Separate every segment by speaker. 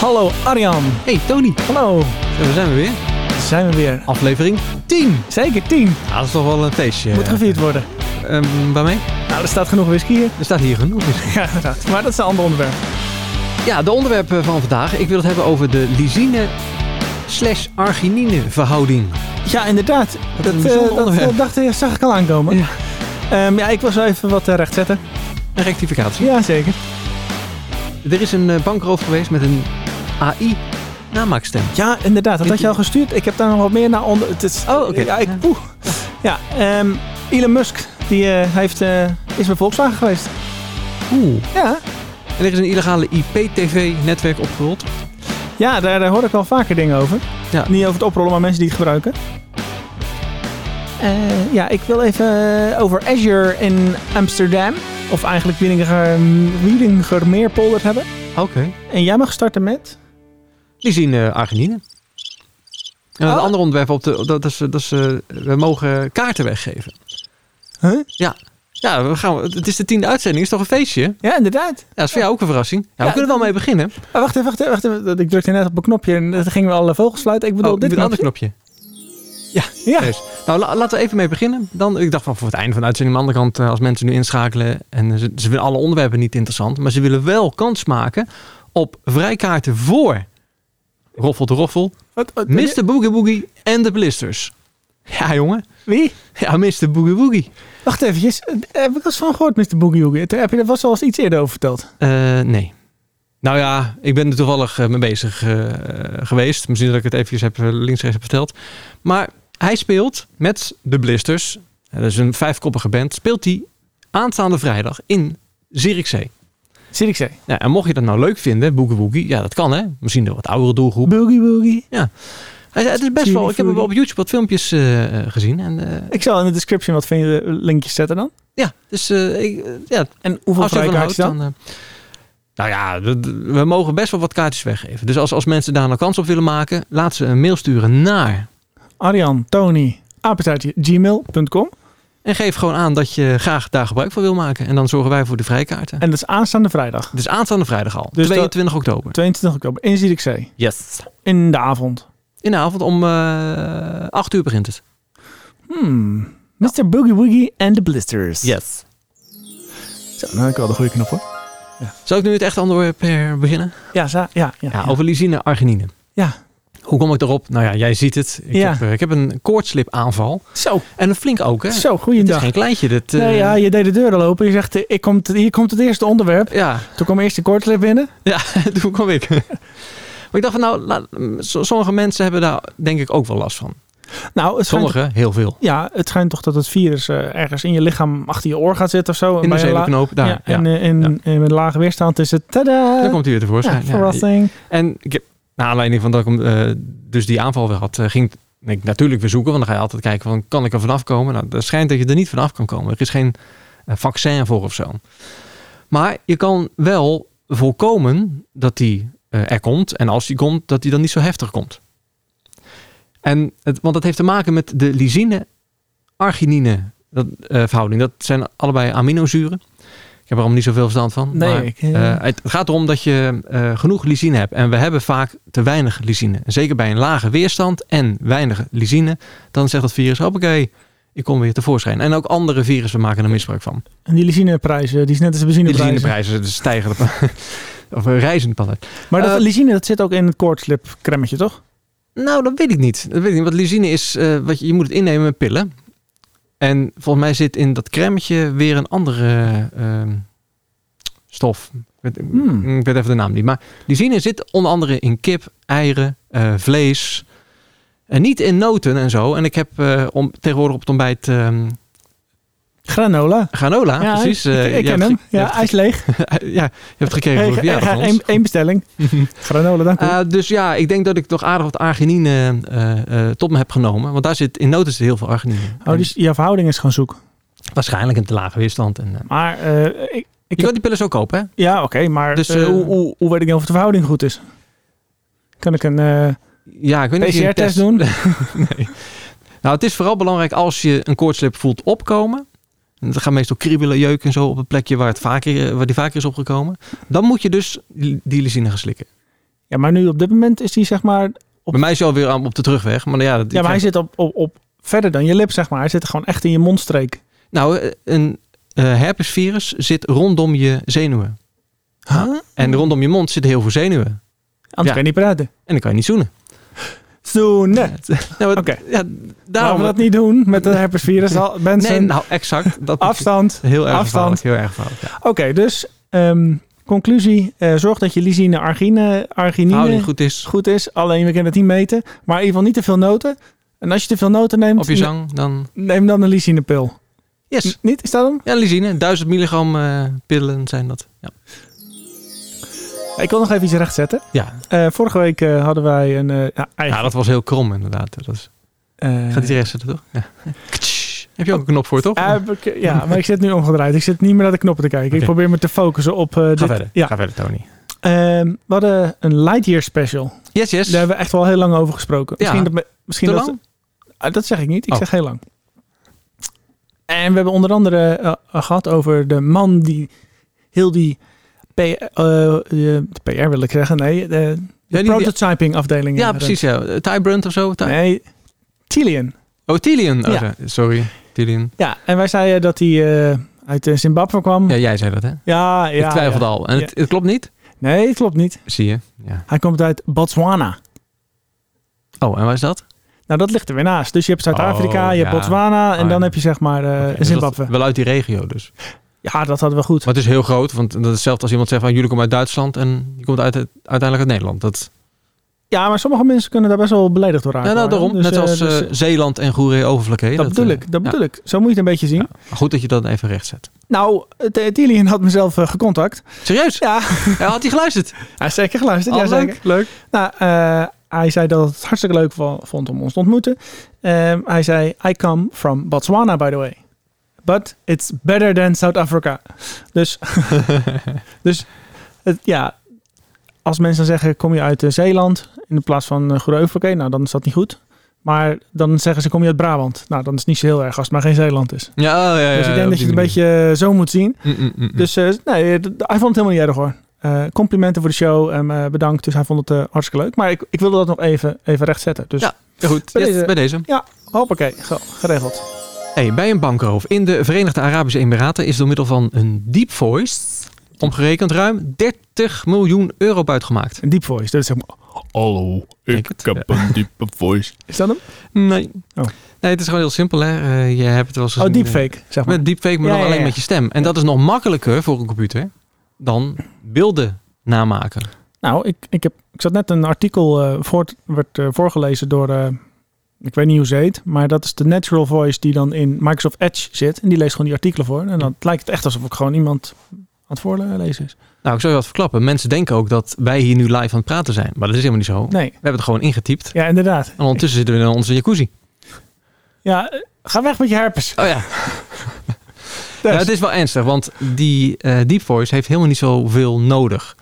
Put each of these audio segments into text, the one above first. Speaker 1: Hallo Arjan.
Speaker 2: Hey Tony,
Speaker 1: Hallo.
Speaker 2: daar zijn we weer.
Speaker 1: Daar zijn we weer.
Speaker 2: Aflevering 10.
Speaker 1: Zeker 10.
Speaker 2: Ah, dat is toch wel een feestje.
Speaker 1: Moet gevierd worden.
Speaker 2: Ehm, waarmee?
Speaker 1: Nou, er staat genoeg whisky hier.
Speaker 2: Er staat hier genoeg. whisky.
Speaker 1: Ja, inderdaad. Maar dat is een ander onderwerp.
Speaker 2: Ja, de onderwerpen van vandaag. Ik wil het hebben over de lysine slash arginine verhouding.
Speaker 1: Ja, inderdaad.
Speaker 2: Dat is een bijzonder
Speaker 1: eh,
Speaker 2: onderwerp.
Speaker 1: dat dacht, ik- zag ik al aankomen.
Speaker 2: Ja.
Speaker 1: Ehm, ja, ik was wel even wat eh, rechtzetten.
Speaker 2: Een rectificatie.
Speaker 1: Ja, zeker.
Speaker 2: Er is een eh, bankroof geweest met een AI namaakstem.
Speaker 1: Ja, inderdaad. Dat had je al gestuurd. Ik heb daar nog wat meer naar onder. Het is,
Speaker 2: Oh, oké.
Speaker 1: Ja, ik,
Speaker 2: Ja.
Speaker 1: poeh. ja ehm, Elon Musk die, eh, heeft, eh, is bij Volkswagen geweest.
Speaker 2: Oeh.
Speaker 1: Ja,
Speaker 2: En er is een illegale IPTV-netwerk opgerold.
Speaker 1: ja daar, daar hoor ik al vaker dingen over.
Speaker 2: Ja.
Speaker 1: Niet over het oprollen, maar mensen die het gebruiken. Eh, ja, ik wil even eh, over Azure in Amsterdam. Of eigenlijk Wieringer, Wieringer Meerpolder hebben.
Speaker 2: Oké.
Speaker 1: En jij mag starten met...
Speaker 2: Lysine arginine. eh, En een
Speaker 1: Oh.
Speaker 2: ander onderwerp op de, dat is, dat is, eh, we mogen kaarten weggeven.
Speaker 1: Huh?
Speaker 2: Ja, we gaan, het is de tiende uitzending. is toch een feestje? Ja,
Speaker 1: Ja, inderdaad.
Speaker 2: dat is voor jou ook een verrassing. Ja,
Speaker 1: Ja.
Speaker 2: we kunnen er wel mee beginnen.
Speaker 1: Ah, wacht even, wacht even, wacht even. Ik drukte net op een knopje en dan gingen we alle vogels fluiten. Ik bedoel,
Speaker 2: Oh,
Speaker 1: dit
Speaker 2: een ander
Speaker 1: knopje.
Speaker 2: knopje.
Speaker 1: Ja.
Speaker 2: Serieus. Nou, la- laten we even mee beginnen. Dan, ik dacht van voor het einde van de uitzending. Aan de andere kant, eh, als mensen nu inschakelen. en eh, ze, ze vinden alle onderwerpen niet interessant. maar ze willen wel kans maken op vrijkaarten voor Roffel de Roffel,
Speaker 1: Wat, wat-
Speaker 2: Mr. Boogie Boogie en de Blisters. Ja, jongen.
Speaker 1: Wie?
Speaker 2: Ja, Mr. Boogie Boogie.
Speaker 1: Wacht eventjes. Eh, Heb ik wel eens van gehoord, Mr. Boogie Woogie? Daar Heb je er vast wel eens iets eerder over verteld?
Speaker 2: Eh, nee. Nou ja, ik ben er toevallig eh, mee bezig eh, geweest. Misschien dat ik het eventjes heb eh, links rechts heb verteld. Maar hij speelt met de Blisters. eh, dat is een vijfkoppige band. Speelt hij aanstaande vrijdag in Zierikzee.
Speaker 1: Zit ik zei.
Speaker 2: Ja, en mocht je dat nou leuk vinden, Boogie Woogie. Ja, dat kan hè. Misschien de wat oudere doelgroep.
Speaker 1: Boogie Woogie.
Speaker 2: Hij- het is best wel, ik heb hem op YouTube wat filmpjes eh, eh, gezien. En, eh,
Speaker 1: Ik zal in de description wat van je eh, linkjes zetten dan.
Speaker 2: ja, dus eh, ik, eh, ja,
Speaker 1: En hoeveel
Speaker 2: je ervan
Speaker 1: vrijkaartjes dan?
Speaker 2: houdt, dan, eh, nou ja, d- d- we mogen best wel wat kaartjes weggeven. Dus als, als mensen daar een kans op willen maken, laat ze een mail sturen naar.
Speaker 1: Arjan, Tony, apenstaartje, gmail.com.
Speaker 2: En geef gewoon aan dat je graag daar gebruik van wil maken. En dan zorgen wij voor de vrijkaarten.
Speaker 1: En dat is aanstaande vrijdag,
Speaker 2: Het is aanstaande vrijdag al,
Speaker 1: Dus
Speaker 2: 22 oktober.
Speaker 1: 22 oktober, in Zierikzee.
Speaker 2: Yes.
Speaker 1: In de avond.
Speaker 2: In de avond om eh 8 uur begint het.
Speaker 1: Hmm. Mr. Boogie Woogie en de Blisters.
Speaker 2: Yes.
Speaker 1: Zo, dan heb ik wel de goede knop hoor.
Speaker 2: Zal ik nu het echt onderwerp eh, beginnen?
Speaker 1: Ja, za- ja, ja.
Speaker 2: Ja, over lysine arginine.
Speaker 1: Ja.
Speaker 2: Hoe kom ik erop? Nou ja, jij ziet het. Ik,
Speaker 1: Ja.
Speaker 2: heb, eh, ik heb een koortslip aanval.
Speaker 1: Zo,
Speaker 2: En een flink ook, hè? Het
Speaker 1: zo,
Speaker 2: is
Speaker 1: goeiedag.
Speaker 2: geen kleintje. Dit, eh,
Speaker 1: Nee, ja, je deed de deur al open. Je zegt, eh, ik komt, hier komt het eerste onderwerp.
Speaker 2: ja,
Speaker 1: Toen kwam eerst de kortlip binnen.
Speaker 2: Toen kwam ik. maar ik dacht van nou, laat- s- sommige mensen hebben daar denk ik ook wel last van.
Speaker 1: Nou, het schijnt,
Speaker 2: Sommige, heel veel.
Speaker 1: ja, het schijnt toch dat het virus eh, ergens in je lichaam achter je oor gaat zitten of zo.
Speaker 2: In de
Speaker 1: Bij een la-
Speaker 2: zenuwknoop, daar.
Speaker 1: ja,
Speaker 2: Ja,
Speaker 1: En, eh, in, eh, met lage weerstand is het tada.
Speaker 2: Daar komt hij weer
Speaker 1: ja,
Speaker 2: tevoorschijn. Ja,
Speaker 1: verrassing.
Speaker 2: En ik heb, naar aanleiding van dat ik hem, eh, dus die aanval weer had, eh, ging ik natuurlijk weer zoeken. Want dan ga je altijd kijken van kan ik er vanaf komen? Nou, het schijnt dat je er niet vanaf kan komen. Er is geen eh, vaccin voor of zo. Maar je kan wel voorkomen dat die eh, er komt. En als die komt, dat die dan niet zo heftig komt. En het, want dat heeft te maken met de lysine, arginine dat, eh, verhouding. Dat zijn allebei aminozuren. Ik heb er allemaal niet zoveel verstand van.
Speaker 1: Nee,
Speaker 2: maar,
Speaker 1: ik, eh,
Speaker 2: eh, het gaat erom dat je eh, genoeg lysine hebt. En we hebben vaak te weinig lysine. Zeker bij een lage weerstand en weinig lysine. Dan zegt dat virus, hoppakee, ik kom weer tevoorschijn. En ook andere virussen maken er misbruik van.
Speaker 1: En die lysineprijzen, die is net als de
Speaker 2: Die
Speaker 1: benzineprijzen.
Speaker 2: benzineprijzen dus stijgen. op- of eh, reizen op altijd.
Speaker 1: Maar dat
Speaker 2: Eh,
Speaker 1: lysine, dat zit ook in het koortslip kremmetje, toch?
Speaker 2: Nou, dat weet ik niet. Dat weet ik niet. Want lysine is, eh, wat je, je moet het innemen met pillen. En volgens mij zit in dat crèmetje weer een andere ehm, stof. Ik weet,
Speaker 1: Hmm.
Speaker 2: ik weet even de naam niet. Maar lysine zit onder andere in kip, eieren, eh, vlees. En niet in noten en zo. En ik heb eh, om, tegenwoordig op het ontbijt ehm,
Speaker 1: Granola.
Speaker 2: granola.
Speaker 1: Ja,
Speaker 2: precies.
Speaker 1: Ik,
Speaker 2: Eh,
Speaker 1: ik
Speaker 2: je
Speaker 1: ken
Speaker 2: hebt
Speaker 1: hem.
Speaker 2: ge- je
Speaker 1: Ja,
Speaker 2: hebt
Speaker 1: hij is leeg.
Speaker 2: ge- ja, je hebt gekregen voor
Speaker 1: Eén
Speaker 2: je verjaardag van ons.
Speaker 1: één bestelling. Granola, dank u.
Speaker 2: Eh, dus ja, ik denk dat ik toch aardig wat arginine eh, eh, tot me heb genomen. Want daar zit in noten zit heel veel arginine.
Speaker 1: oh, dus jouw verhouding is gaan zoeken.
Speaker 2: En waarschijnlijk een te lage weerstand. En, eh,
Speaker 1: Maar, eh, ik,
Speaker 2: je
Speaker 1: heb-
Speaker 2: kan die pillen zo kopen, hè?
Speaker 1: ja, oké, maar
Speaker 2: Dus,
Speaker 1: eh,
Speaker 2: eh,
Speaker 1: hoe, hoe, hoe weet ik nou of de verhouding goed is? Kan ik een eh,
Speaker 2: Ja, ik weet niet of je een
Speaker 1: PCR-test doen?
Speaker 2: Nou, het is vooral belangrijk als je een koortslip voelt opkomen. En Dat gaat meestal kriebelen, jeuk en zo op het plekje waar, het vaker, eh, waar die vaker is opgekomen. Dan moet je dus die lysine gaan slikken.
Speaker 1: Ja, maar nu op dit moment is die zeg maar... Op-
Speaker 2: Bij mij is hij alweer aan- op de terugweg. Maar ja, dat,
Speaker 1: Ja, maar hij
Speaker 2: ik-
Speaker 1: zit op, op, op verder dan je lip, zeg maar. Hij zit gewoon echt in je mondstreek.
Speaker 2: Nou, een eh, herpesvirus zit rondom je zenuwen.
Speaker 1: Huh?
Speaker 2: En rondom je mond zitten heel veel zenuwen.
Speaker 1: Anders
Speaker 2: Ja.
Speaker 1: kan je niet praten.
Speaker 2: En dan kan je niet zoenen.
Speaker 1: Zo, nee.
Speaker 2: Nou, het-
Speaker 1: Oké.
Speaker 2: ja,
Speaker 1: Waarom
Speaker 2: daarom...
Speaker 1: we dat niet doen met het herpesvirus? Al- Mensen,
Speaker 2: Nee, nou exact. Dat
Speaker 1: afstand.
Speaker 2: Heel erg
Speaker 1: Afstand.
Speaker 2: gevaarlijk, Heel erg gevaarlijk, ja.
Speaker 1: Oké, dus ehm, conclusie. eh, zorg dat je lysine argine, arginine
Speaker 2: Verhouding
Speaker 1: goed.
Speaker 2: goed is
Speaker 1: is. Alleen, we kunnen het niet meten. Maar in ieder geval niet te veel noten. En als je te veel noten neemt,
Speaker 2: op je zang, dan...
Speaker 1: ne- neem dan een lysinepil.
Speaker 2: Yes.
Speaker 1: N- Niet? Is dat hem?
Speaker 2: Ja, lysine. 1000 milligram eh, pillen zijn dat. Ja.
Speaker 1: Ik wil nog even iets rechtzetten.
Speaker 2: Ja.
Speaker 1: Eh, vorige week eh, hadden wij een... eh ja,
Speaker 2: ja,
Speaker 1: eigen,
Speaker 2: dat was heel krom inderdaad. Dat is,
Speaker 1: eh,
Speaker 2: gaat iets rechts zitten, toch? Ja. Ktsch. Heb je ook een knop voor, toch?
Speaker 1: eh, heb ik- ja, maar ik zit nu omgedraaid. Ik zit niet meer naar de knoppen te kijken. Ik
Speaker 2: Oké.
Speaker 1: probeer me te focussen op... eh,
Speaker 2: Ga
Speaker 1: dit-
Speaker 2: verder.
Speaker 1: Ja.
Speaker 2: Ga verder, Tony.
Speaker 1: Ehm, we hadden een Lightyear special.
Speaker 2: Yes, yes.
Speaker 1: Daar hebben we echt wel heel lang over gesproken.
Speaker 2: Ja.
Speaker 1: Misschien dat, me- misschien
Speaker 2: Te
Speaker 1: dat,
Speaker 2: lang?
Speaker 1: Ah, dat zeg ik niet. Ik
Speaker 2: Oh.
Speaker 1: zeg heel lang. En we hebben onder andere eh, gehad over de man die heel die P- eh, eh, de PR wil ik zeggen. Nee, eh, de, de
Speaker 2: Ja, die-
Speaker 1: prototyping afdeling.
Speaker 2: Ja,
Speaker 1: runt.
Speaker 2: precies. Ja. Eh, Ty Brunt of zo. Ty-
Speaker 1: Nee, Tilian.
Speaker 2: Oh, Tilian. Oh,
Speaker 1: Ja.
Speaker 2: zo- Sorry, Tilian.
Speaker 1: Ja, en wij zeiden dat hij eh, uit eh, Zimbabwe kwam.
Speaker 2: Ja,
Speaker 1: Ja,
Speaker 2: jij zei dat, hè?
Speaker 1: ja.
Speaker 2: ik twijfelde al. En
Speaker 1: Ja.
Speaker 2: het, het klopt niet.
Speaker 1: Nee, het klopt niet.
Speaker 2: Zie je. Ja.
Speaker 1: Hij komt uit Botswana.
Speaker 2: Oh, en waar is dat?
Speaker 1: Nou, dat ligt er weer naast. Dus je hebt Zuid-Afrika,
Speaker 2: Oh,
Speaker 1: je hebt
Speaker 2: ja.
Speaker 1: Botswana en
Speaker 2: Oh,
Speaker 1: dan
Speaker 2: ja.
Speaker 1: heb je zeg maar eh,
Speaker 2: Oké, dus
Speaker 1: Zimbabwe.
Speaker 2: dat- wel uit die regio dus.
Speaker 1: Ja, dat hadden we goed.
Speaker 2: Maar het is heel groot. Want dat is hetzelfde als iemand zegt van jullie komen uit Duitsland. En je komt uit, het- uiteindelijk uit Nederland. Dat,
Speaker 1: Ja, maar sommige mensen kunnen daar best wel beledigd door raken.
Speaker 2: ja, nou,
Speaker 1: hoor.
Speaker 2: daarom.
Speaker 1: Dus,
Speaker 2: Net
Speaker 1: eh,
Speaker 2: zoals
Speaker 1: dus,
Speaker 2: eh, Zeeland en Goeree Overvlakke.
Speaker 1: dat bedoel
Speaker 2: eh,
Speaker 1: ik, dat
Speaker 2: ja.
Speaker 1: bedoel ik. Zo moet je het een beetje zien.
Speaker 2: Ja. Maar goed dat je dat even recht zet.
Speaker 1: Nou, eh, Tilian had mezelf eh, gecontact.
Speaker 2: Serieus?
Speaker 1: Ja,
Speaker 2: Ja, had hij geluisterd?
Speaker 1: hij is zeker geluisterd.
Speaker 2: Oh,
Speaker 1: ja,
Speaker 2: leuk,
Speaker 1: zeker. Nou, eh, hij zei dat het hartstikke leuk va- vond om ons te ontmoeten. Ehm, hij zei, I come from Botswana, by the way. But it's better than South Africa. Dus, dus het, ja, als mensen dan zeggen, kom je uit eh, Zeeland in plaats van uh, nou dan is dat niet goed. Maar dan zeggen ze, kom je uit Brabant. Nou, dan is het niet zo heel erg als het maar geen Zeeland is.
Speaker 2: Ja, oh, ja, ja.
Speaker 1: dus ik
Speaker 2: ja,
Speaker 1: denk
Speaker 2: op
Speaker 1: dat je
Speaker 2: die
Speaker 1: het een
Speaker 2: manier.
Speaker 1: beetje eh, zo moet zien.
Speaker 2: Mm, mm, mm, mm.
Speaker 1: Dus eh, nee, d- d- hij vond het helemaal niet erg hoor. Eh, complimenten voor de show en eh, bedankt. Dus hij vond het eh, hartstikke leuk. Maar ik, ik wilde dat nog even, even rechtzetten. Dus
Speaker 2: Ja. goed,
Speaker 1: bij
Speaker 2: yes,
Speaker 1: deze-
Speaker 2: bij deze.
Speaker 1: hoppakee, ge- geregeld.
Speaker 2: Hey, bij een bankroof in de Verenigde Arabische Emiraten is door middel van een deep voice omgerekend ruim 30 miljoen euro buitgemaakt.
Speaker 1: Een deep voice. Dat is, helemaal-
Speaker 3: Hallo, ik
Speaker 2: Denk het,
Speaker 3: heb een diepe voice.
Speaker 1: is dat hem?
Speaker 2: Nee.
Speaker 1: Oh.
Speaker 2: Nee, het is gewoon heel simpel. Hè? Eh, je hebt het wel eens
Speaker 1: Oh,
Speaker 2: gezien,
Speaker 1: deepfake, zeg
Speaker 2: eh,
Speaker 1: maar.
Speaker 2: Met deepfake, maar
Speaker 1: Ja,
Speaker 2: dan
Speaker 1: ja,
Speaker 2: alleen
Speaker 1: ja.
Speaker 2: met je stem. En
Speaker 1: Ja.
Speaker 2: dat is nog makkelijker voor een computer dan beelden namaken.
Speaker 1: Nou, ik, ik, heb, ik zat net een artikel, eh voort, werd eh, voorgelezen door, eh, ik weet niet hoe ze heet, maar dat is de natural voice die dan in Microsoft Edge zit. En die leest gewoon die artikelen voor. En dan lijkt het echt alsof ik gewoon iemand aan het voorlezen is.
Speaker 2: Nou, ik zou je wat verklappen. Mensen denken ook dat wij hier nu live aan het praten zijn. Maar dat is helemaal niet zo. We
Speaker 1: Nee,
Speaker 2: hebben het gewoon ingetypt.
Speaker 1: ja inderdaad.
Speaker 2: En ondertussen zitten we in onze jacuzzi.
Speaker 1: Ja, eh, ga weg met je herpes.
Speaker 2: Oh ja.
Speaker 1: Dus.
Speaker 2: Ja, het is wel ernstig, want die eh Deep Voice heeft helemaal niet zoveel nodig.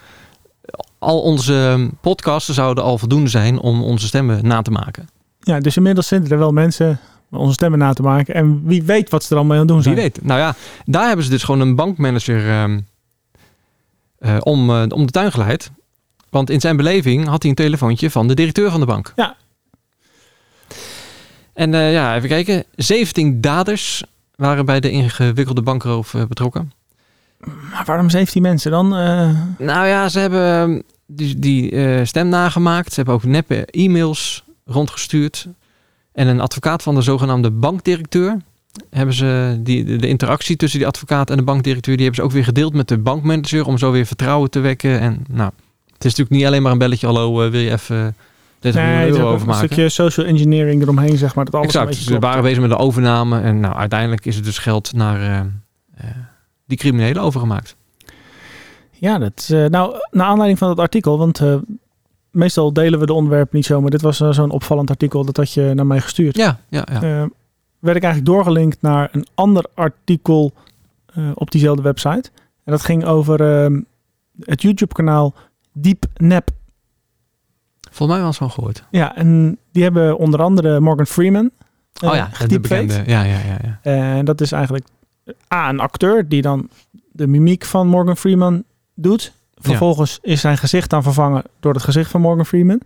Speaker 2: Al onze ehm, podcasten zouden al voldoende zijn om onze stemmen na te maken.
Speaker 1: Ja, dus inmiddels zitten er wel mensen om onze stemmen na te maken. En wie weet wat ze er allemaal aan het doen
Speaker 2: Wie
Speaker 1: zijn.
Speaker 2: weet. Nou ja, daar hebben ze dus gewoon een bankmanager ehm, eh, om, eh, om de tuin geleid. Want in zijn beleving had hij een telefoontje van de directeur van de bank.
Speaker 1: Ja.
Speaker 2: En eh, ja, even kijken. 17 daders waren bij de ingewikkelde bankroof eh, betrokken.
Speaker 1: Maar waarom 17 mensen dan? eh,
Speaker 2: Nou ja, ze hebben ehm, die, die eh, stem nagemaakt. Ze hebben ook neppe e-mails rondgestuurd. En een advocaat van de zogenaamde bankdirecteur. Hebben ze die, de, de interactie tussen die advocaat en de bankdirecteur, die hebben ze ook weer gedeeld met de bankmanager om zo weer vertrouwen te wekken. En nou, het is natuurlijk niet alleen maar een belletje. Hallo, eh, wil je even 30
Speaker 1: nee, er
Speaker 2: miljoen
Speaker 1: is
Speaker 2: euro
Speaker 1: ook een
Speaker 2: overmaken?
Speaker 1: stukje social engineering eromheen, zeg maar. Dat alles een
Speaker 2: exact. Dus
Speaker 1: beetje
Speaker 2: Ze
Speaker 1: klopt.
Speaker 2: waren bezig met de overname. En nou, uiteindelijk is het dus geld naar eh, eh, die criminelen overgemaakt.
Speaker 1: Ja, dat is, eh, nou, naar aanleiding van dat artikel, want eh, meestal delen we de onderwerpen niet zo, maar dit was eh, zo'n opvallend artikel, dat had je naar mij gestuurd.
Speaker 2: Ja, ja, ja.
Speaker 1: Eh, werd ik eigenlijk doorgelinkt naar een ander artikel eh, op diezelfde website. En dat ging over eh, het YouTube-kanaal Deep Nap
Speaker 2: Volgens mij was het wel gehoord.
Speaker 1: Ja, en die hebben onder andere Morgan Freeman. eh,
Speaker 2: oh ja, de
Speaker 1: gedeepfaked.
Speaker 2: bekende. Ja, ja, ja, ja.
Speaker 1: En dat is eigenlijk eh, A, een acteur die dan de mimiek van Morgan Freeman doet. Vervolgens is zijn gezicht dan vervangen door het gezicht van Morgan Freeman.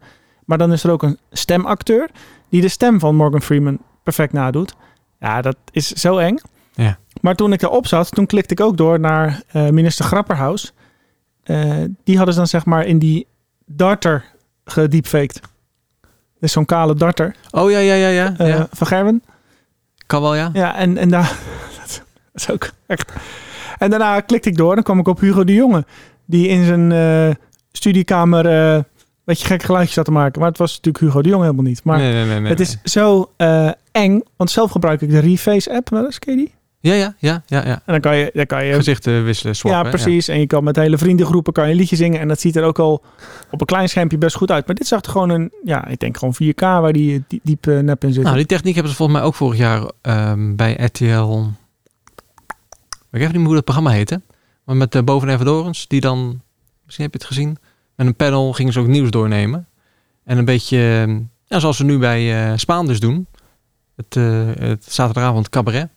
Speaker 1: Maar dan is er ook een stemacteur die de stem van Morgan Freeman perfect nadoet. Ja, dat is zo eng.
Speaker 2: Ja.
Speaker 1: Maar toen ik erop zat, toen klikte ik ook door naar eh, minister Grapperhaus. Eh, die hadden ze dan zeg maar in die darter gediepfaked. Dus zo'n kale darter
Speaker 2: Oh ja, ja, ja, ja.
Speaker 1: eh,
Speaker 2: ja.
Speaker 1: van Gerben.
Speaker 2: Kan wel, ja.
Speaker 1: Ja, en, en daar. dat is ook echt. En daarna klikte ik door. Dan kwam ik op Hugo de Jonge. Die in zijn eh, studiekamer. eh, een beetje gek geluidjes zat te maken. Maar het was natuurlijk Hugo de Jonge helemaal niet. Maar
Speaker 2: nee, nee, nee, nee,
Speaker 1: het is zo eh, eng. Want zelf gebruik ik de Reface app wel eens. Ken je die?
Speaker 2: nee. Ja, ja, ja, ja, ja.
Speaker 1: En dan kan je. Dan kan je
Speaker 2: Gezichten wisselen, swappen.
Speaker 1: ja,
Speaker 2: hè?
Speaker 1: precies. En je kan met hele vriendengroepen kan je een liedje zingen. En dat ziet er ook al op een klein schermpje best goed uit. Maar dit zag er gewoon een, ja, ik denk gewoon 4K waar die eh, die- diep eh, nep in zit.
Speaker 2: Nou, die techniek hebben ze volgens mij ook vorig jaar ehm, bij RTL. Ik weet even niet meer hoe dat programma heette. Maar met eh Boven en Van Dorens, die dan, misschien heb je het gezien, met een panel gingen ze ook nieuws doornemen. En een beetje, ehm, ja, zoals ze nu bij eh Spaanders doen, het, eh, het zaterdagavond cabaret,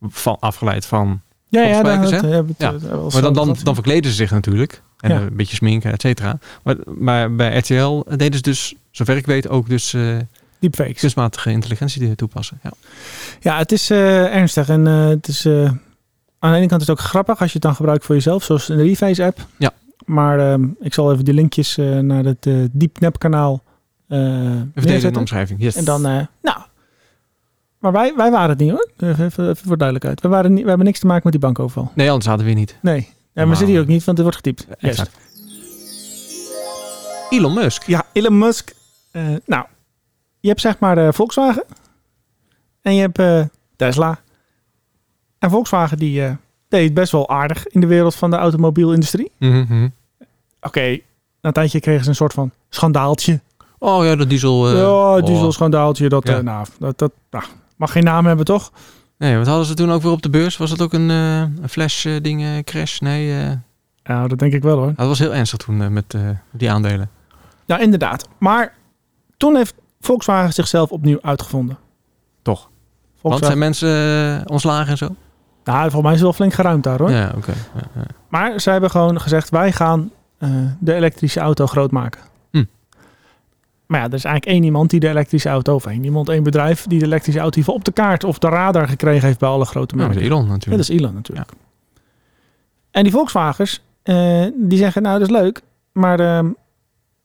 Speaker 2: van, afgeleid van...
Speaker 1: ja, ja, daar
Speaker 2: Spijkers, hè?
Speaker 1: hebben we het,
Speaker 2: Ja.
Speaker 1: eh, wel eens
Speaker 2: Maar dan, dan,
Speaker 1: over
Speaker 2: dan verkleden ze zich natuurlijk. En eh,
Speaker 1: Ja.
Speaker 2: een beetje sminken, et cetera. Maar, maar bij RTL deden ze dus, zover ik weet, ook dus eh,
Speaker 1: gehad. Deepfakes.
Speaker 2: kunstmatige intelligentie toepassen. Ja.
Speaker 1: Ja, het is eh, ernstig. En eh, het is, eh, aan de ene kant is het ook grappig als je het dan gebruikt voor jezelf, zoals in de Reface app.
Speaker 2: Ja.
Speaker 1: Maar ehm, ik zal even die linkjes eh, naar het eh DeepNap kanaal eh
Speaker 2: Even delen in de
Speaker 1: neerzetten.
Speaker 2: omschrijving. Yes.
Speaker 1: En dan, eh, nou. Maar wij, wij waren het niet hoor. Even, even even voor duidelijkheid. We, waren niet, we hebben niks te maken met die bankoverval.
Speaker 2: Nee, anders hadden we hier niet.
Speaker 1: Nee. Ja, maar
Speaker 2: Maar-
Speaker 1: we zitten hier ook niet, want het wordt getypt. Juist.
Speaker 2: Exact. Elon Musk.
Speaker 1: Ja, Elon Musk. eh, nou, je hebt zeg maar eh, Volkswagen. En je hebt eh, Tesla. En Volkswagen die eh, deed het best wel aardig in de wereld van de automobielindustrie.
Speaker 2: Mhm.
Speaker 1: Oké, na een tijdje kregen ze een soort van schandaaltje.
Speaker 2: Oh ja, dat diesel. eh,
Speaker 1: ja,
Speaker 2: oh.
Speaker 1: diesel schandaaltje. Dat,
Speaker 2: Ja.
Speaker 1: eh, nou, dat, dat nou, mag geen naam hebben toch?
Speaker 2: Nee, wat hadden ze toen ook weer op de beurs? Was dat ook een, eh, een flash eh, ding eh, crash? Nee, eh,
Speaker 1: Nou, dat denk ik wel hoor.
Speaker 2: dat was heel ernstig toen eh, met eh, die aandelen.
Speaker 1: Nou, inderdaad. Maar toen heeft Volkswagen zichzelf opnieuw uitgevonden.
Speaker 2: Toch? Want
Speaker 1: Volkswagen.
Speaker 2: zijn mensen eh, ontslagen en zo?
Speaker 1: Nou, volgens mij is het wel flink geruimd daar hoor.
Speaker 2: Ja, oké. Ja, ja.
Speaker 1: Maar zij hebben gewoon gezegd: wij gaan eh, de elektrische auto groot maken.
Speaker 2: Hm.
Speaker 1: Maar ja, er is eigenlijk één iemand die de elektrische auto, of één iemand, één bedrijf, die de elektrische auto even op de kaart of de radar gekregen heeft bij alle grote
Speaker 2: Nou,
Speaker 1: merken.
Speaker 2: met Elon
Speaker 1: Ja, dat
Speaker 2: natuurlijk.
Speaker 1: is Elon natuurlijk. En die Volkswagens, eh, die zeggen: nou, dat is leuk, maar ehm,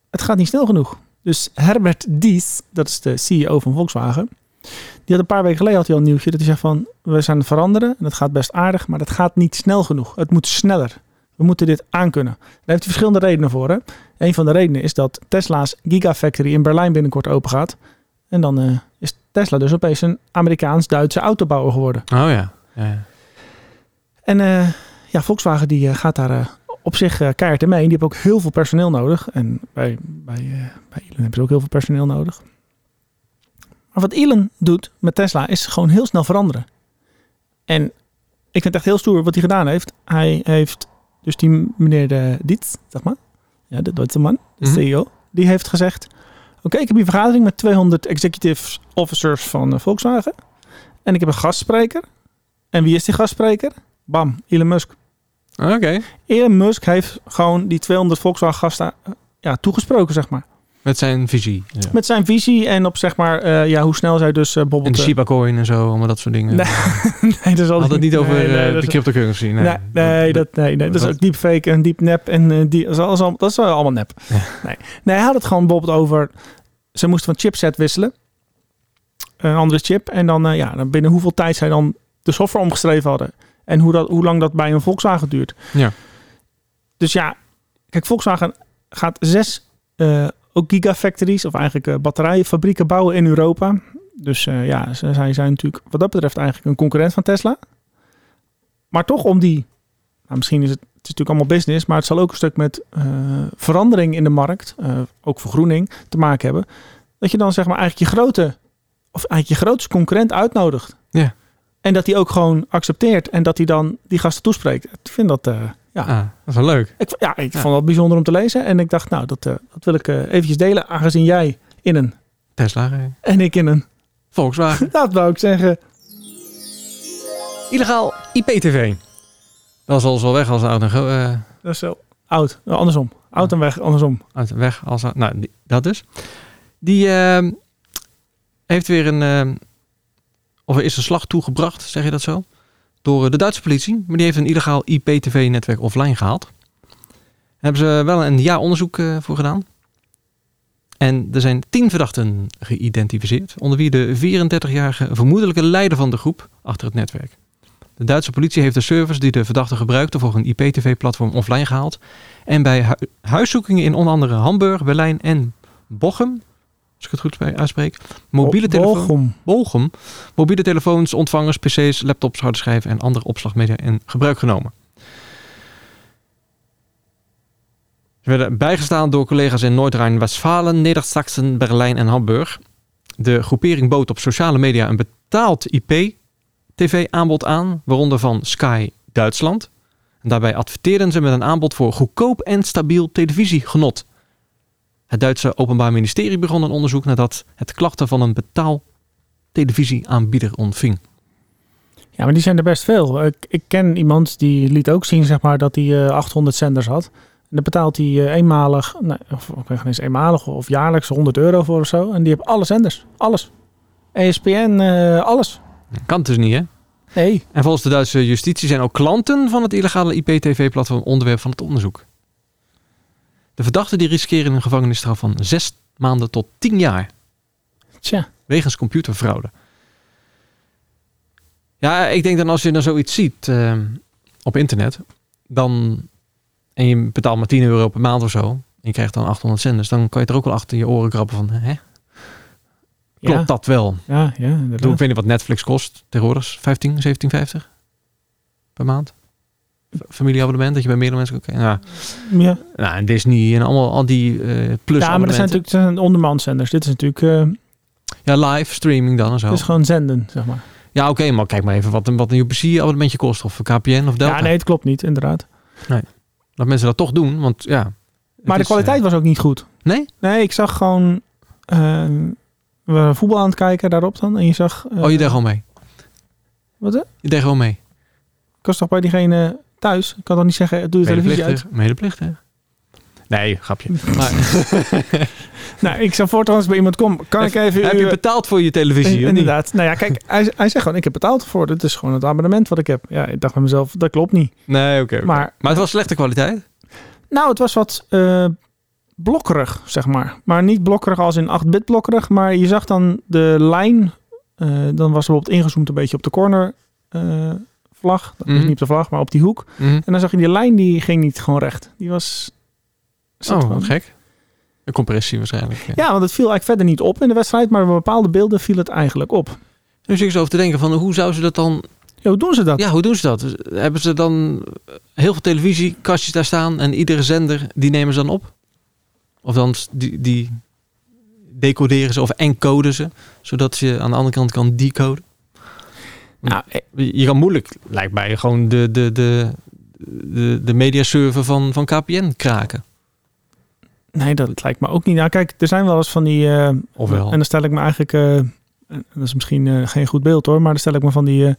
Speaker 1: het gaat niet snel genoeg. Dus Herbert Dies, dat is de CEO van Volkswagen, die had een paar weken geleden had hij al een nieuwtje dat hij zegt van we zijn aan het veranderen en dat gaat best aardig, maar dat gaat niet snel genoeg. Het moet sneller. We moeten dit aankunnen. Daar heeft hij verschillende redenen voor. Hè? Een van de redenen is dat Tesla's Gigafactory in Berlijn binnenkort open gaat. En dan eh, is Tesla dus opeens een Amerikaans-Duitse autobouwer geworden.
Speaker 2: Oh ja. ja, ja.
Speaker 1: En eh, ja, Volkswagen die eh, gaat daar eh, op zich eh, keihard in mee. Die hebben ook heel veel personeel nodig. En bij, bij, eh, bij Elon hebben ze ook heel veel personeel nodig. Maar wat Elon doet met Tesla is gewoon heel snel veranderen. En ik vind het echt heel stoer wat hij gedaan heeft. Hij heeft dus die meneer de Dietz, zeg maar. Ja, de Duitse man, de
Speaker 2: Mhm.
Speaker 1: CEO. Die heeft gezegd... Oké, ik heb hier een vergadering met 200 executive officers van eh, Volkswagen. En ik heb een gastspreker. En wie is die gastspreker? Bam, Elon Musk.
Speaker 2: Ah, Oké.
Speaker 1: Elon Musk heeft gewoon die 200 Volkswagen gasten eh, ja, toegesproken, zeg maar.
Speaker 2: Met zijn visie. Ja.
Speaker 1: Met zijn visie en op, zeg maar, eh, ja, hoe snel zij dus eh
Speaker 2: En
Speaker 1: bobbelt.
Speaker 2: de Shiba coin en zo, allemaal dat soort dingen.
Speaker 1: Nee, nee, dat is al
Speaker 2: Had het niet over
Speaker 1: nee, nee,
Speaker 2: eh,
Speaker 1: dat
Speaker 2: de
Speaker 1: is-
Speaker 2: cryptocurrency. Nee,
Speaker 1: Nee, nee, dat, nee, nee, dat is
Speaker 2: dat-
Speaker 1: ook deepfake en deep nep en eh, die, dat, is alles al- dat is allemaal nep.
Speaker 2: Ja.
Speaker 1: Nee. nee, hij had het gewoon bijvoorbeeld over, ze moesten van chipset wisselen, een andere chip, en dan, eh, ja, dan binnen hoeveel tijd zij dan de software omgeschreven hadden en hoe, dat, hoe lang dat bij een Volkswagen duurt.
Speaker 2: Ja.
Speaker 1: Dus ja, kijk, Volkswagen gaat zes eh, ook gigafactories, of eigenlijk eh, batterijfabrieken bouwen in Europa. Dus eh, ja, ze- zij zijn natuurlijk wat dat betreft eigenlijk een concurrent van Tesla. Maar toch om die, nou, misschien is het, het is natuurlijk allemaal business, maar het zal ook een stuk met eh, verandering in de markt, eh, ook vergroening, te maken hebben. Dat je dan zeg maar eigenlijk je grote, of eigenlijk je grootste concurrent uitnodigt.
Speaker 2: Ja.
Speaker 1: En dat die ook gewoon accepteert en dat hij dan die gasten toespreekt. Ik vind dat, eh, ja.
Speaker 2: Ah, dat is wel leuk.
Speaker 1: ik, ja, ik
Speaker 2: Ja.
Speaker 1: vond dat bijzonder om te lezen. En ik dacht, nou, dat, eh, dat wil ik eh, eventjes delen, aangezien jij in een
Speaker 2: Tesla, eh,
Speaker 1: en ik in een.
Speaker 2: Volkswagen.
Speaker 1: Dat wou ik zeggen.
Speaker 2: Illegaal IPTV. Dat is al zo weg als oud en go- eh,
Speaker 1: Dat is zo. Oud, eh, andersom. Oud en weg, andersom.
Speaker 2: uit de weg als nou die- dat dus. Die eh, heeft weer een eh, of er is een slag toegebracht, zeg je dat zo? Door eh, de Duitse politie, maar die heeft een illegaal IPTV-netwerk offline gehaald. Daar hebben ze wel een jaar onderzoek eh, voor gedaan. En er zijn tien verdachten geïdentificeerd, onder wie de 34-jarige vermoedelijke leider van de groep achter het netwerk. De Duitse politie heeft de servers die de verdachte gebruikte voor een IPTV-platform offline gehaald en bij hu- huiszoekingen in onder andere Hamburg, Berlijn en Bochum, als ik het goed spe- uitspreek, mobiele
Speaker 1: Bo-
Speaker 2: telefoon.
Speaker 1: Bochum.
Speaker 2: Bolgum mobiele telefoons, ontvangers, pc's, laptops, harde schijven en andere opslagmedia in gebruik genomen. Ze werden bijgestaan door collega's in Noord-Rijn-Westfalen, Neder-Saxen, Berlijn en Hamburg. De groepering bood op sociale media een betaald IP-tv-aanbod aan, waaronder van Sky Duitsland. En daarbij adverteerden ze met een aanbod voor goedkoop en stabiel televisiegenot. Het Duitse Openbaar Ministerie begon een onderzoek nadat het klachten van een betaal televisieaanbieder ontving.
Speaker 1: Ja, maar die zijn er best veel. Ik, ik ken iemand die liet ook zien zeg maar, dat hij eh, 800 zenders had. En daar betaalt hij eh, eenmalig, nee, of ik weet niet eens eenmalig of jaarlijks 100 euro voor of zo. En die hebben alle zenders. Alles. ESPN, eh, alles.
Speaker 2: Kan dus niet, hè?
Speaker 1: Nee.
Speaker 2: En volgens de Duitse justitie zijn ook klanten van het illegale IPTV-platform onderwerp van het onderzoek. De verdachten die riskeren een gevangenisstraf van zes maanden tot tien jaar
Speaker 1: Tja.
Speaker 2: wegens computerfraude. Ja, ik denk dan als je dan zoiets ziet eh, op internet, dan en je betaalt maar 10 euro per maand of zo, en je krijgt dan 800 zenders, dan kan je er ook wel achter je oren krabben van, hè? Klopt
Speaker 1: ja.
Speaker 2: dat wel?
Speaker 1: Ja, ja,
Speaker 2: Ik bedoel,
Speaker 1: inderdaad.
Speaker 2: ik weet niet wat Netflix kost tegenwoordig. 15, 17,50 per maand. F- Familieabonnement, dat je bij meerdere mensen kan kijken. Nou,
Speaker 1: Ja.
Speaker 2: nou, en Disney en allemaal al die eh plus
Speaker 1: ja, maar dat zijn natuurlijk dat zijn ondermanszenders. Dit is natuurlijk eh,
Speaker 2: Ja, live streaming dan en zo.
Speaker 1: dit is gewoon zenden, zeg maar.
Speaker 2: Ja, oké, maar kijk maar even wat, een- wat een UPC-abonnementje kost. Of een KPN of Delta.
Speaker 1: Ja, nee, het klopt niet, inderdaad.
Speaker 2: Dat mensen dat toch doen, want ja. het
Speaker 1: Maar de
Speaker 2: is,
Speaker 1: kwaliteit was ook niet goed.
Speaker 2: eh, nee?
Speaker 1: Nee, ik zag gewoon eh, we waren voetbal aan het kijken daarop dan. En je zag... eh,
Speaker 2: Oh, je deed gewoon mee.
Speaker 1: Wat, hè?
Speaker 2: Je deed gewoon mee.
Speaker 1: Ik was toch bij diegene thuis. Ik kan dan niet zeggen, doe de televisie uit.
Speaker 2: Medeplichtig. Medeplichtig. Nee, grapje. Maar,
Speaker 1: Nou, ik zou voortaan als bij iemand kom, kan ik even...
Speaker 2: heb
Speaker 1: uw-
Speaker 2: je betaald voor je
Speaker 1: Eh,
Speaker 2: televisie? of niet?
Speaker 1: Inderdaad. Nou ja, kijk, hij, hij zegt gewoon, ik heb betaald voor. Dit is gewoon het abonnement wat ik heb. Ja, ik dacht bij mezelf, dat klopt niet.
Speaker 2: Nee, oké. oké.
Speaker 1: Maar
Speaker 2: maar het was slechte kwaliteit.
Speaker 1: nou, het was wat eh, blokkerig, zeg maar. Maar niet blokkerig als in 8-bit blokkerig. Maar je zag dan de lijn. eh, dan was bijvoorbeeld ingezoomd een beetje op de corner eh, vlag. Dat is
Speaker 2: Mhm.
Speaker 1: Niet op de vlag, maar op die hoek.
Speaker 2: Mhm.
Speaker 1: En dan zag je die lijn, die ging niet gewoon recht. Die was... zat
Speaker 2: Oh,
Speaker 1: gewoon-
Speaker 2: wat gek. Een compressie waarschijnlijk. Ja.
Speaker 1: Ja, want het viel eigenlijk verder niet op in de wedstrijd, maar bij bepaalde beelden viel het eigenlijk op.
Speaker 2: Nu zit ik zo over te denken van hoe zouden ze dat dan...
Speaker 1: Ja, hoe doen ze dat?
Speaker 2: Ja, hoe doen ze dat? Dus Hebben ze dan eh, heel veel televisiekastjes daar staan en iedere zender die nemen ze dan op? Of dan s- die, die decoderen ze of encoden ze, zodat je aan de andere kant kan decoden?
Speaker 1: Nou,
Speaker 2: Je je kan moeilijk, lijkt mij, gewoon de, de, de, de, de mediaserver van, van KPN kraken.
Speaker 1: Nee, dat lijkt me ook niet. Nou, kijk, er zijn wel eens van die. eh,
Speaker 2: Ofwel.
Speaker 1: En dan stel ik me eigenlijk. eh, en dat is misschien eh, geen goed beeld hoor, maar dan stel ik me van die eh,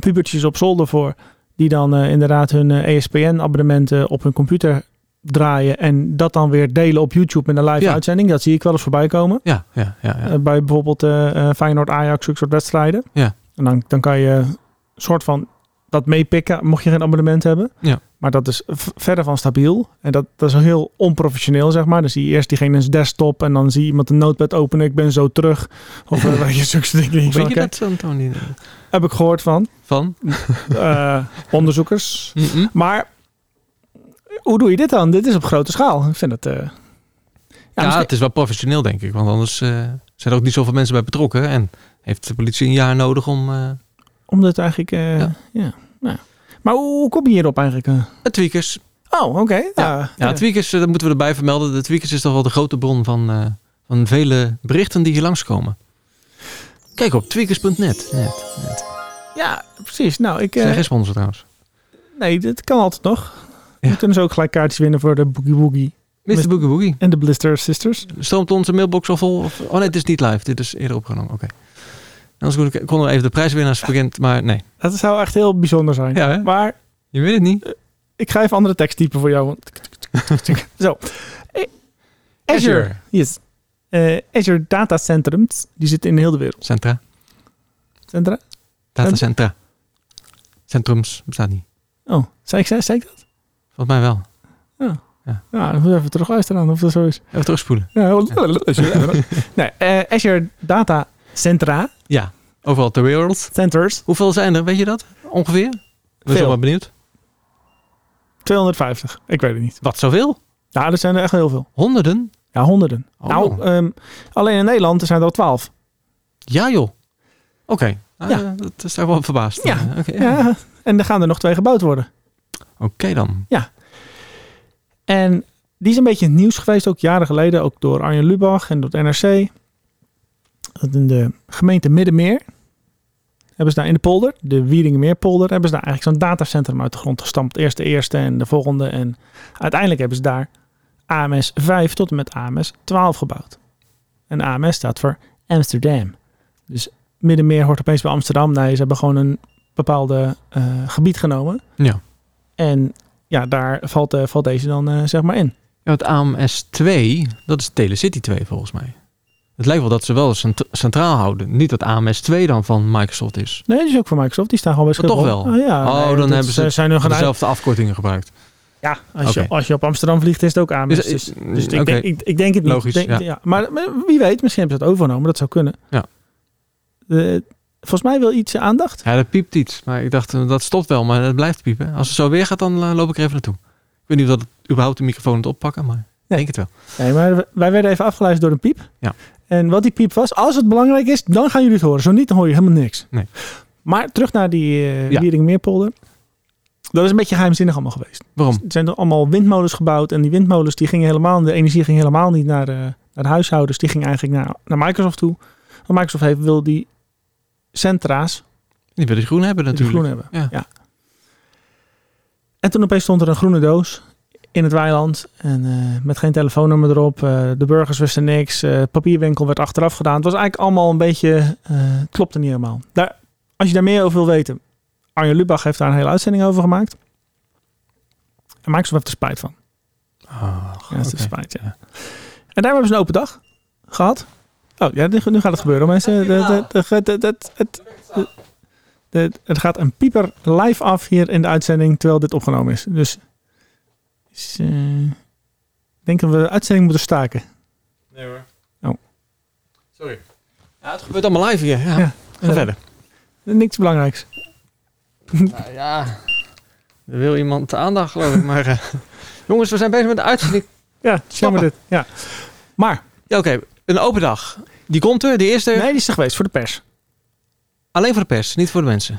Speaker 1: pubertjes op zolder voor. Die dan eh, inderdaad hun ESPN-abonnementen eh, op hun computer draaien. En dat dan weer delen op YouTube in een live
Speaker 2: Ja.
Speaker 1: uitzending. Dat zie ik wel eens voorbij komen.
Speaker 2: Ja, ja, ja. ja.
Speaker 1: Eh, bij bijvoorbeeld eh, eh, Feyenoord, Ajax, zulke soort wedstrijden.
Speaker 2: Ja.
Speaker 1: En dan, dan kan je een soort van dat meepikken, mocht je geen abonnement hebben.
Speaker 2: Ja.
Speaker 1: Maar dat is v- verder van stabiel. En dat, dat is heel onprofessioneel, zeg maar. Dan zie je eerst diegene's desktop en dan zie je iemand een notepad openen. Ik ben zo terug. Of eh, weet je, zulke soort dingen.
Speaker 2: Hoe
Speaker 1: Van,
Speaker 2: weet je
Speaker 1: oké,
Speaker 2: dat dan, Tony?
Speaker 1: Heb ik gehoord van
Speaker 2: Van?
Speaker 1: eh, onderzoekers.
Speaker 2: Mhm.
Speaker 1: Maar hoe doe je dit dan? Dit is op grote schaal. Ik vind het... eh,
Speaker 2: Ja,
Speaker 1: misschien-
Speaker 2: het is wel professioneel, denk ik. Want anders eh, zijn er ook niet zoveel mensen bij betrokken. En heeft de politie een jaar nodig om eh
Speaker 1: Omdat eigenlijk... eh,
Speaker 2: Ja.
Speaker 1: ja. nou ja. Maar hoe, hoe kom je hierop eigenlijk? eh?
Speaker 2: de tweakers.
Speaker 1: Oh, oké.
Speaker 2: Ja.
Speaker 1: Ja.
Speaker 2: Ja, tweakers, eh, dat moeten we erbij vermelden. De tweakers is toch wel de grote bron van, eh, van vele berichten die hier langskomen. Kijk op tweakers.net. Net, net.
Speaker 1: Ja, precies. Nou, ik. eh,
Speaker 2: Zijn geen sponsor trouwens.
Speaker 1: nee, dit kan altijd nog.
Speaker 2: Ja.
Speaker 1: We kunnen dus ook gelijk kaartjes winnen voor de Boogie Woogie
Speaker 2: Mr. Boogie Boogie.
Speaker 1: en de Blister Sisters.
Speaker 2: Stroomt onze mailbox al vol? Of, oh nee, dit is niet live. Dit is eerder opgenomen. Oké. Anders kon ik- konden we even de prijswinnaars bekend. Maar nee.
Speaker 1: Dat zou echt heel bijzonder zijn.
Speaker 2: Ja, hè?
Speaker 1: Maar
Speaker 2: je weet het niet.
Speaker 1: ik ga even andere teksttypen voor jou. Want Zo. Eh, Azure.
Speaker 2: Azure.
Speaker 1: Yes. Eh, Azure Data Centrums, die zitten in heel de wereld.
Speaker 2: Centra.
Speaker 1: Centra?
Speaker 2: Datacentra. Centrums bestaat niet.
Speaker 1: Oh, zei ik, zei, zei ik dat?
Speaker 2: Volgens mij wel.
Speaker 1: Nou, ik moet even terug luisteren aan of dat zo is.
Speaker 2: Even terugspoelen.
Speaker 1: Ja, nee, eh, Azure Data Centra,
Speaker 2: Ja, overal ter wereld.
Speaker 1: Centers,
Speaker 2: Hoeveel zijn er, weet je dat? Ongeveer? We zijn
Speaker 1: Veel.
Speaker 2: wel benieuwd.
Speaker 1: 250. Ik weet het niet.
Speaker 2: Wat, zoveel?
Speaker 1: Nou, er zijn er echt heel veel.
Speaker 2: Honderden?
Speaker 1: Ja, honderden.
Speaker 2: Oh.
Speaker 1: Nou, ehm, alleen in Nederland zijn er al twaalf.
Speaker 2: Ja joh. Oké. Ah,
Speaker 1: Ja.
Speaker 2: dat is daar wel verbaasd.
Speaker 1: Ja.
Speaker 2: Eh, Oké,
Speaker 1: Ja. En er gaan er nog twee gebouwd worden.
Speaker 2: Oké dan.
Speaker 1: En die is een beetje in het nieuws geweest, ook jaren geleden, ook door Arjen Lubach en door het NRC. Dat in de gemeente Middenmeer hebben ze daar in de polder, de Wieringenmeerpolder, hebben ze daar eigenlijk zo'n datacentrum uit de grond gestampt. Eerst de eerste en de volgende. En uiteindelijk hebben ze daar AMS 5 tot en met AMS 12 gebouwd. En AMS staat voor Amsterdam. Dus Middenmeer hoort opeens bij Amsterdam. Nee, ze hebben gewoon een bepaalde eh, gebied genomen.
Speaker 2: Ja.
Speaker 1: En ja, daar valt, eh, valt deze dan eh, zeg maar in.
Speaker 2: Ja, het AMS 2, dat is Telecity 2 volgens mij. Het lijkt wel dat ze wel cent- centraal houden. Niet dat AMS 2 dan van Microsoft is.
Speaker 1: Nee, die is ook van Microsoft. Die staan gewoon bij
Speaker 2: Maar toch
Speaker 1: Schiphol.
Speaker 2: wel.
Speaker 1: Ah, ja,
Speaker 2: Oh, dan
Speaker 1: dat
Speaker 2: hebben ze het-
Speaker 1: zijn hun gedaan.
Speaker 2: Dezelfde afkortingen gebruikt.
Speaker 1: Ja, als, je,
Speaker 2: Oké.
Speaker 1: als je op Amsterdam vliegt, is het ook aan. Dus,
Speaker 2: Dus,
Speaker 1: dus,
Speaker 2: eh,
Speaker 1: ik,
Speaker 2: oké.
Speaker 1: denk, ik, ik denk het niet.
Speaker 2: Logisch,
Speaker 1: Denk-
Speaker 2: ja.
Speaker 1: Maar, maar wie weet, misschien hebben ze het overgenomen. Dat zou kunnen.
Speaker 2: Ja.
Speaker 1: Eh, volgens mij wil iets eh, aandacht.
Speaker 2: Ja, dat piept iets. Maar ik dacht, eh, dat stopt wel, maar dat blijft piepen. Als het zo weer gaat, dan eh, loop ik er even naartoe. Ik weet niet of dat het überhaupt de microfoon het oppakken, maar ik denk het wel.
Speaker 1: Nee, maar wij werden even afgeluisterd door een piep.
Speaker 2: Ja.
Speaker 1: En wat die piep was, als het belangrijk is, dan gaan jullie het horen. Zo niet, dan hoor je helemaal niks.
Speaker 2: Nee.
Speaker 1: Maar terug naar die eh
Speaker 2: Ja.
Speaker 1: Wieringenmeerpolder. Dat is een beetje geheimzinnig allemaal geweest.
Speaker 2: Waarom?
Speaker 1: Er zijn er allemaal windmolens gebouwd. En die windmolens, die gingen helemaal, de energie ging helemaal niet naar de, naar de huishoudens. Die ging eigenlijk naar, naar Microsoft toe. Want Microsoft heeft, wil die centra's
Speaker 2: Die willen groen hebben
Speaker 1: die
Speaker 2: natuurlijk.
Speaker 1: groen hebben.
Speaker 2: Ja.
Speaker 1: En toen opeens stond er een groene doos in het weiland. En eh, met geen telefoonnummer erop. Eh, de burgers wisten niks. eh papierwinkel werd achteraf gedaan. Het was eigenlijk allemaal een beetje... eh, het klopte niet helemaal. Daar, als je daar meer over wil weten. Arjen Lubach heeft daar een hele uitzending over gemaakt. En Microsoft heeft er spijt van.
Speaker 2: Ach,
Speaker 1: Ja, dat is
Speaker 2: oké.
Speaker 1: spijt, ja.
Speaker 2: Ja.
Speaker 1: En daar hebben ze een open dag gehad. Oh ja, nu nu gaat het gebeuren, mensen. Dat- dat- dat- dat- dat- dat- dat- dat- Het gaat een pieper live af hier in de uitzending terwijl dit opgenomen is. Dus is, eh, ik denk dat we de uitzending moeten staken.
Speaker 2: Nee hoor.
Speaker 1: Oh.
Speaker 2: Sorry. Ja, het gebeurt allemaal live hier. Ja.
Speaker 1: Ja.
Speaker 2: Ga verder.
Speaker 1: Eh, Niks belangrijks.
Speaker 2: Nou ja, er wil iemand de aandacht geloof ik. Maar eh, jongens, we zijn bezig met de uitzending.
Speaker 1: Ja, jammer
Speaker 2: Stappen.
Speaker 1: dit. Ja. Maar,
Speaker 2: Ja, oké. Een open dag. Die komt er, de eerste.
Speaker 1: nee, die is er geweest voor de pers.
Speaker 2: Alleen voor de pers, niet voor de mensen.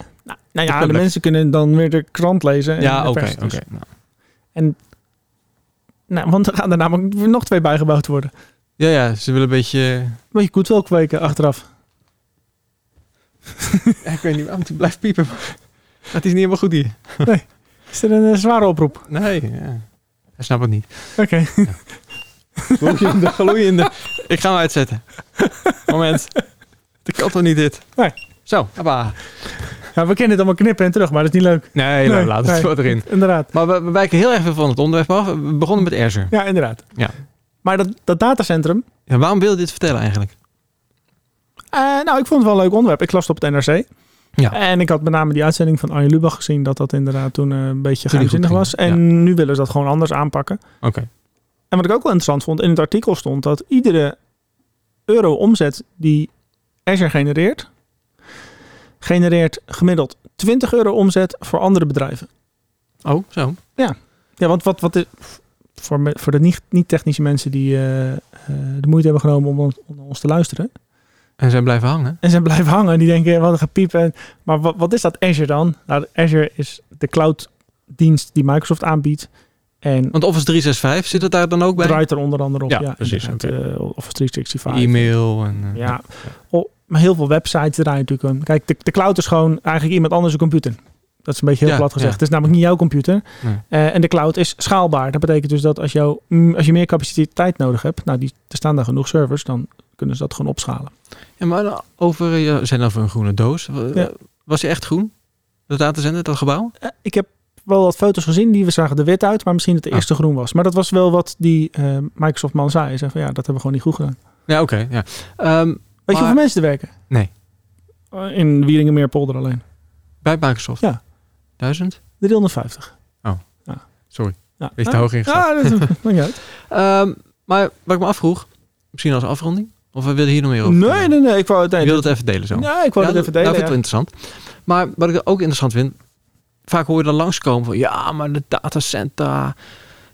Speaker 1: Nou, nou ja, de
Speaker 2: Natuurlijk.
Speaker 1: mensen kunnen dan weer de krant lezen. en
Speaker 2: ja,
Speaker 1: de
Speaker 2: oké.
Speaker 1: pers.
Speaker 2: oké.
Speaker 1: Dus-
Speaker 2: Nou.
Speaker 1: Nou, want er gaan er namelijk nog twee bijgebouwd worden.
Speaker 2: Ja, ja, ze willen een beetje...
Speaker 1: Maar je kunt wel kweken achteraf.
Speaker 2: Ja, eh, ik weet niet waarom die blijft piepen. maar Het is niet helemaal goed hier.
Speaker 1: Is er een eh, zware oproep?
Speaker 2: Nee, ja. Hij snapt het niet.
Speaker 1: Oké.
Speaker 2: Gloeiende, gloeiende. Ik ga hem uitzetten. Moment. Dat kan toch niet dit?
Speaker 1: Nee.
Speaker 2: Zo, hoppa.
Speaker 1: Ja, we kennen het allemaal knippen en terug, maar dat is niet leuk.
Speaker 2: Nee,
Speaker 1: Nee,
Speaker 2: nou, laat
Speaker 1: nee.
Speaker 2: het wat erin.
Speaker 1: Inderdaad.
Speaker 2: Maar we, we wijken heel erg veel van het onderwerp af. We begonnen met Azure.
Speaker 1: Ja, inderdaad.
Speaker 2: Ja.
Speaker 1: Maar dat, dat datacentrum,
Speaker 2: Ja, waarom wil je dit vertellen eigenlijk?
Speaker 1: eh, nou, ik vond het wel een leuk onderwerp. Ik las het op het NRC.
Speaker 2: Ja.
Speaker 1: En ik had met name die uitzending van Arjen Lubach gezien, dat dat inderdaad toen eh, een beetje
Speaker 2: Toen die goed
Speaker 1: geheimzinnig was.
Speaker 2: ging,
Speaker 1: En nu willen ze dat gewoon anders aanpakken.
Speaker 2: Oké.
Speaker 1: En wat ik ook wel interessant vond, in het artikel stond dat iedere euro omzet die Azure genereert, genereert gemiddeld 20 euro omzet voor andere bedrijven.
Speaker 2: Oh, zo.
Speaker 1: Ja, want wat, wat is. Voor, me- voor de niet- niet-technische mensen die eh, eh, de moeite hebben genomen om, ons- om ons te luisteren.
Speaker 2: En zijn blijven hangen.
Speaker 1: En zijn blijven hangen. en Die denken, wat een gepiep. En, maar wat, wat is dat Azure dan? Nou, Azure is de cloud-dienst die Microsoft aanbiedt. En
Speaker 2: Want Office 365 zit het daar dan ook bij?
Speaker 1: draait er onder andere op.
Speaker 2: Ja, precies,
Speaker 1: inderdaad, eh, Office 365.
Speaker 2: E-mail en... eh,
Speaker 1: Ja. Oh, maar heel veel websites draaien natuurlijk. om. Kijk, de, de cloud is gewoon eigenlijk iemand anders een computer. Dat is een beetje heel
Speaker 2: Ja,
Speaker 1: plat gezegd.
Speaker 2: ja.
Speaker 1: Het is namelijk niet jouw computer.
Speaker 2: Nee.
Speaker 1: Eh, en de cloud is schaalbaar. Dat betekent dus dat als, jou, mm, als je meer capaciteit nodig hebt, nou, die, er staan daar genoeg servers, dan kunnen ze dat gewoon opschalen.
Speaker 2: Ja, maar dan over, eh, ja, we zijn over een groene doos. Wa-
Speaker 1: Ja.
Speaker 2: Was hij echt groen? Dat datacenter, dat gebouw?
Speaker 1: Eh, ik heb wel wat foto's gezien die we zagen er wit uit, maar misschien dat de
Speaker 2: Ah.
Speaker 1: eerste groen was. Maar dat was wel wat die eh, Microsoft-man zei. Hij zei van ja, dat hebben we gewoon niet goed gedaan.
Speaker 2: Ja, oké. ja. Ehm,
Speaker 1: Weet je
Speaker 2: Maar-
Speaker 1: hoeveel mensen er werken?
Speaker 2: Nee.
Speaker 1: Eh, In Wieringenmeerpolder alleen.
Speaker 2: bij Microsoft?
Speaker 1: Ja.
Speaker 2: Duizend?
Speaker 1: 350.
Speaker 2: Sorry,
Speaker 1: Ja.
Speaker 2: wees te hoog ingeschat.
Speaker 1: Ja, Ah, dat maakt niet uit.
Speaker 2: Ehm, maar wat ik me afvroeg, misschien als afronding? Of we willen hier nog meer over?
Speaker 1: Nee, nee, nee. Ik wou het,
Speaker 2: Je
Speaker 1: nee,
Speaker 2: wilde het even delen zo?
Speaker 1: ja, ik wou het even
Speaker 2: dat-
Speaker 1: delen. ja.
Speaker 2: Dat vind ik wel interessant. Maar wat ik ook interessant vind, vaak hoor je dan langskomen van ja, maar de datacenter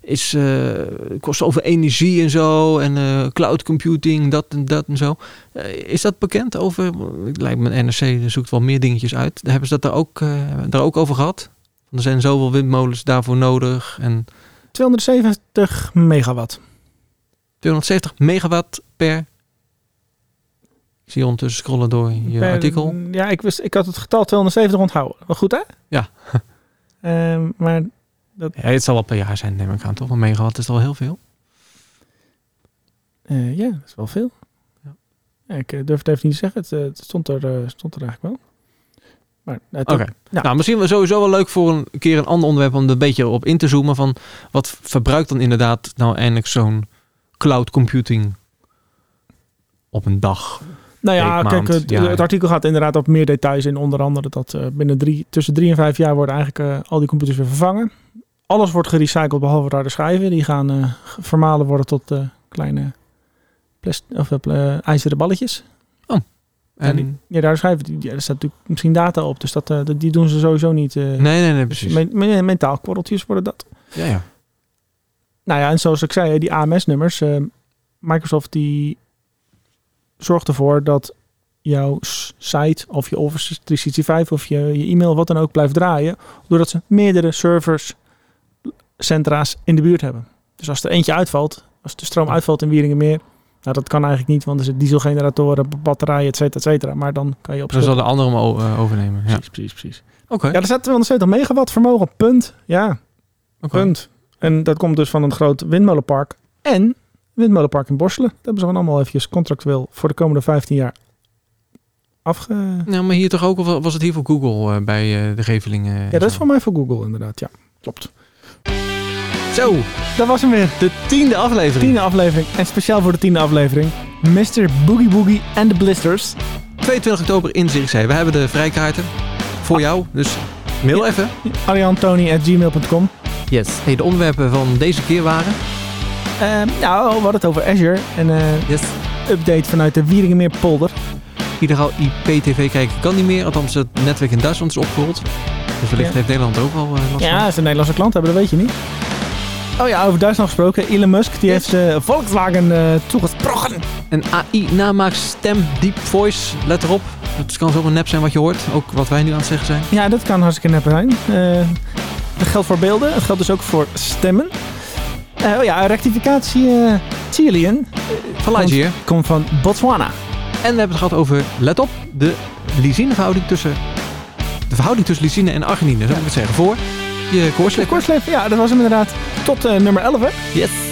Speaker 2: is, eh, kost over energie en zo en eh, cloud computing, dat en dat en zo. Eh, is dat bekend over, het lijkt me NRC zoekt wel meer dingetjes uit. Hebben ze dat daar ook, eh, daar ook over gehad? Want Er zijn zoveel windmolens daarvoor nodig en
Speaker 1: 270 megawatt.
Speaker 2: 270 megawatt per... Ik zie je ondertussen scrollen door je
Speaker 1: Per-
Speaker 2: artikel.
Speaker 1: Ja, ik, wist, ik had het getal 270 onthouden. Wel goed, hè?
Speaker 2: Ja.
Speaker 1: Ehm, maar
Speaker 2: Ja, het zal wel per jaar zijn, neem ik aan, toch? Maar megawatt is toch wel heel veel?
Speaker 1: eh, ja, dat is wel veel.
Speaker 2: Ja.
Speaker 1: Ja, ik eh, durf het even niet te zeggen. Het, eh, het stond, er, eh, stond er eigenlijk wel. Maar eh, het
Speaker 2: Oké.
Speaker 1: Ja.
Speaker 2: Nou, misschien wel sowieso wel leuk voor een keer een ander onderwerp om er een beetje op in te zoomen. Van wat verbruikt dan inderdaad nou eindelijk zo'n cloud computing op een dag?
Speaker 1: Nou ja,
Speaker 2: Week,
Speaker 1: kijk,
Speaker 2: maand,
Speaker 1: het,
Speaker 2: jaar.
Speaker 1: het artikel gaat inderdaad op meer details in. Onder andere dat eh, binnen drie, tussen drie en vijf jaar worden eigenlijk eh, al die computers weer vervangen. Alles wordt gerecycled behalve harde schijven. Die gaan eh, ge- vermalen worden tot eh, kleine plas- of, eh, pla- ijzeren balletjes.
Speaker 2: En,
Speaker 1: die- Ja, daar schrijven die, ja, er staat natuurlijk misschien data op. Dus dat, eh, dat- die doen ze sowieso niet. eh,
Speaker 2: nee, nee, nee,
Speaker 1: dus
Speaker 2: precies.
Speaker 1: men- men- mentaal kwarreltjes worden dat.
Speaker 2: Ja, ja.
Speaker 1: Nou ja, en zoals ik zei, die AMS-nummers. eh, Microsoft die zorgt ervoor dat jouw s- site of je Office 365 of je, je e-mail, wat dan ook, blijft draaien. Doordat ze meerdere servers, centra's in de buurt hebben. Dus als er eentje uitvalt, als de stroom uitvalt in Wieringenmeer, nou dat kan eigenlijk niet, want er zitten dieselgeneratoren, batterijen, et cetera, et cetera. Maar dan kan je op...
Speaker 2: Zo zal de andere hem o- eh, overnemen. Ja.
Speaker 1: Precies, precies, precies.
Speaker 2: Oké.
Speaker 1: Ja, er staat 270 megawatt vermogen, punt. Ja,
Speaker 2: oké.
Speaker 1: Punt. En dat komt dus van een groot windmolenpark. En windmolenpark in Borselen. Dat hebben ze gewoon allemaal eventjes contractueel voor de komende 15 jaar afge...
Speaker 2: Nou, maar hier toch ook, of was het hier voor Google eh, bij eh, de Gevelingen? en
Speaker 1: Ja, dat is
Speaker 2: zo?
Speaker 1: voor mij voor Google inderdaad. Ja, klopt.
Speaker 2: Zo,
Speaker 1: Dat was hem weer.
Speaker 2: de tiende aflevering.
Speaker 1: Tiende aflevering. En speciaal voor de tiende aflevering. Mr. Boogie Boogie en de Blisters.
Speaker 2: 22 oktober in Zierikzee. We hebben de vrijkaarten voor jou, dus mail even.
Speaker 1: ariantoni.gmail.com
Speaker 2: Yes. Hey, de onderwerpen van deze keer waren...
Speaker 1: Ehm Nou, we hadden het over Azure. En eh
Speaker 2: Yes.
Speaker 1: update vanuit de Wieringenmeer polder.
Speaker 2: Illegaal IPTV kijken kan niet meer. Althans, het netwerk in Duitsland is opgerold. Dus wellicht
Speaker 1: Ja.
Speaker 2: heeft Nederland ook al eh, last
Speaker 1: Ja,
Speaker 2: van.
Speaker 1: ze een Nederlandse klant hebben, dat weet je niet. Oh ja, over Duitsland gesproken. Elon Musk die heeft eh, Volkswagen eh, toegesproken.
Speaker 2: Een AI-namaak stem, deep voice. Let erop. Het kan zomaar nep zijn wat je hoort. Ook wat wij nu aan het zeggen zijn.
Speaker 1: Ja, dat kan hartstikke nep zijn. Eh, dat geldt voor beelden. Dat geldt dus ook voor stemmen. Eh, oh ja, rectificatie eh Chilean
Speaker 2: Van Lightyear.
Speaker 1: komt van Botswana.
Speaker 2: En we hebben het gehad over, let op, de lysineverhouding tussen... De verhouding tussen lysine en arginine, zou ik het zeggen. Voor je koorslip.
Speaker 1: Kortsleven, ja, dat was hem inderdaad. Tot eh, nummer 11, hè.
Speaker 2: Yes.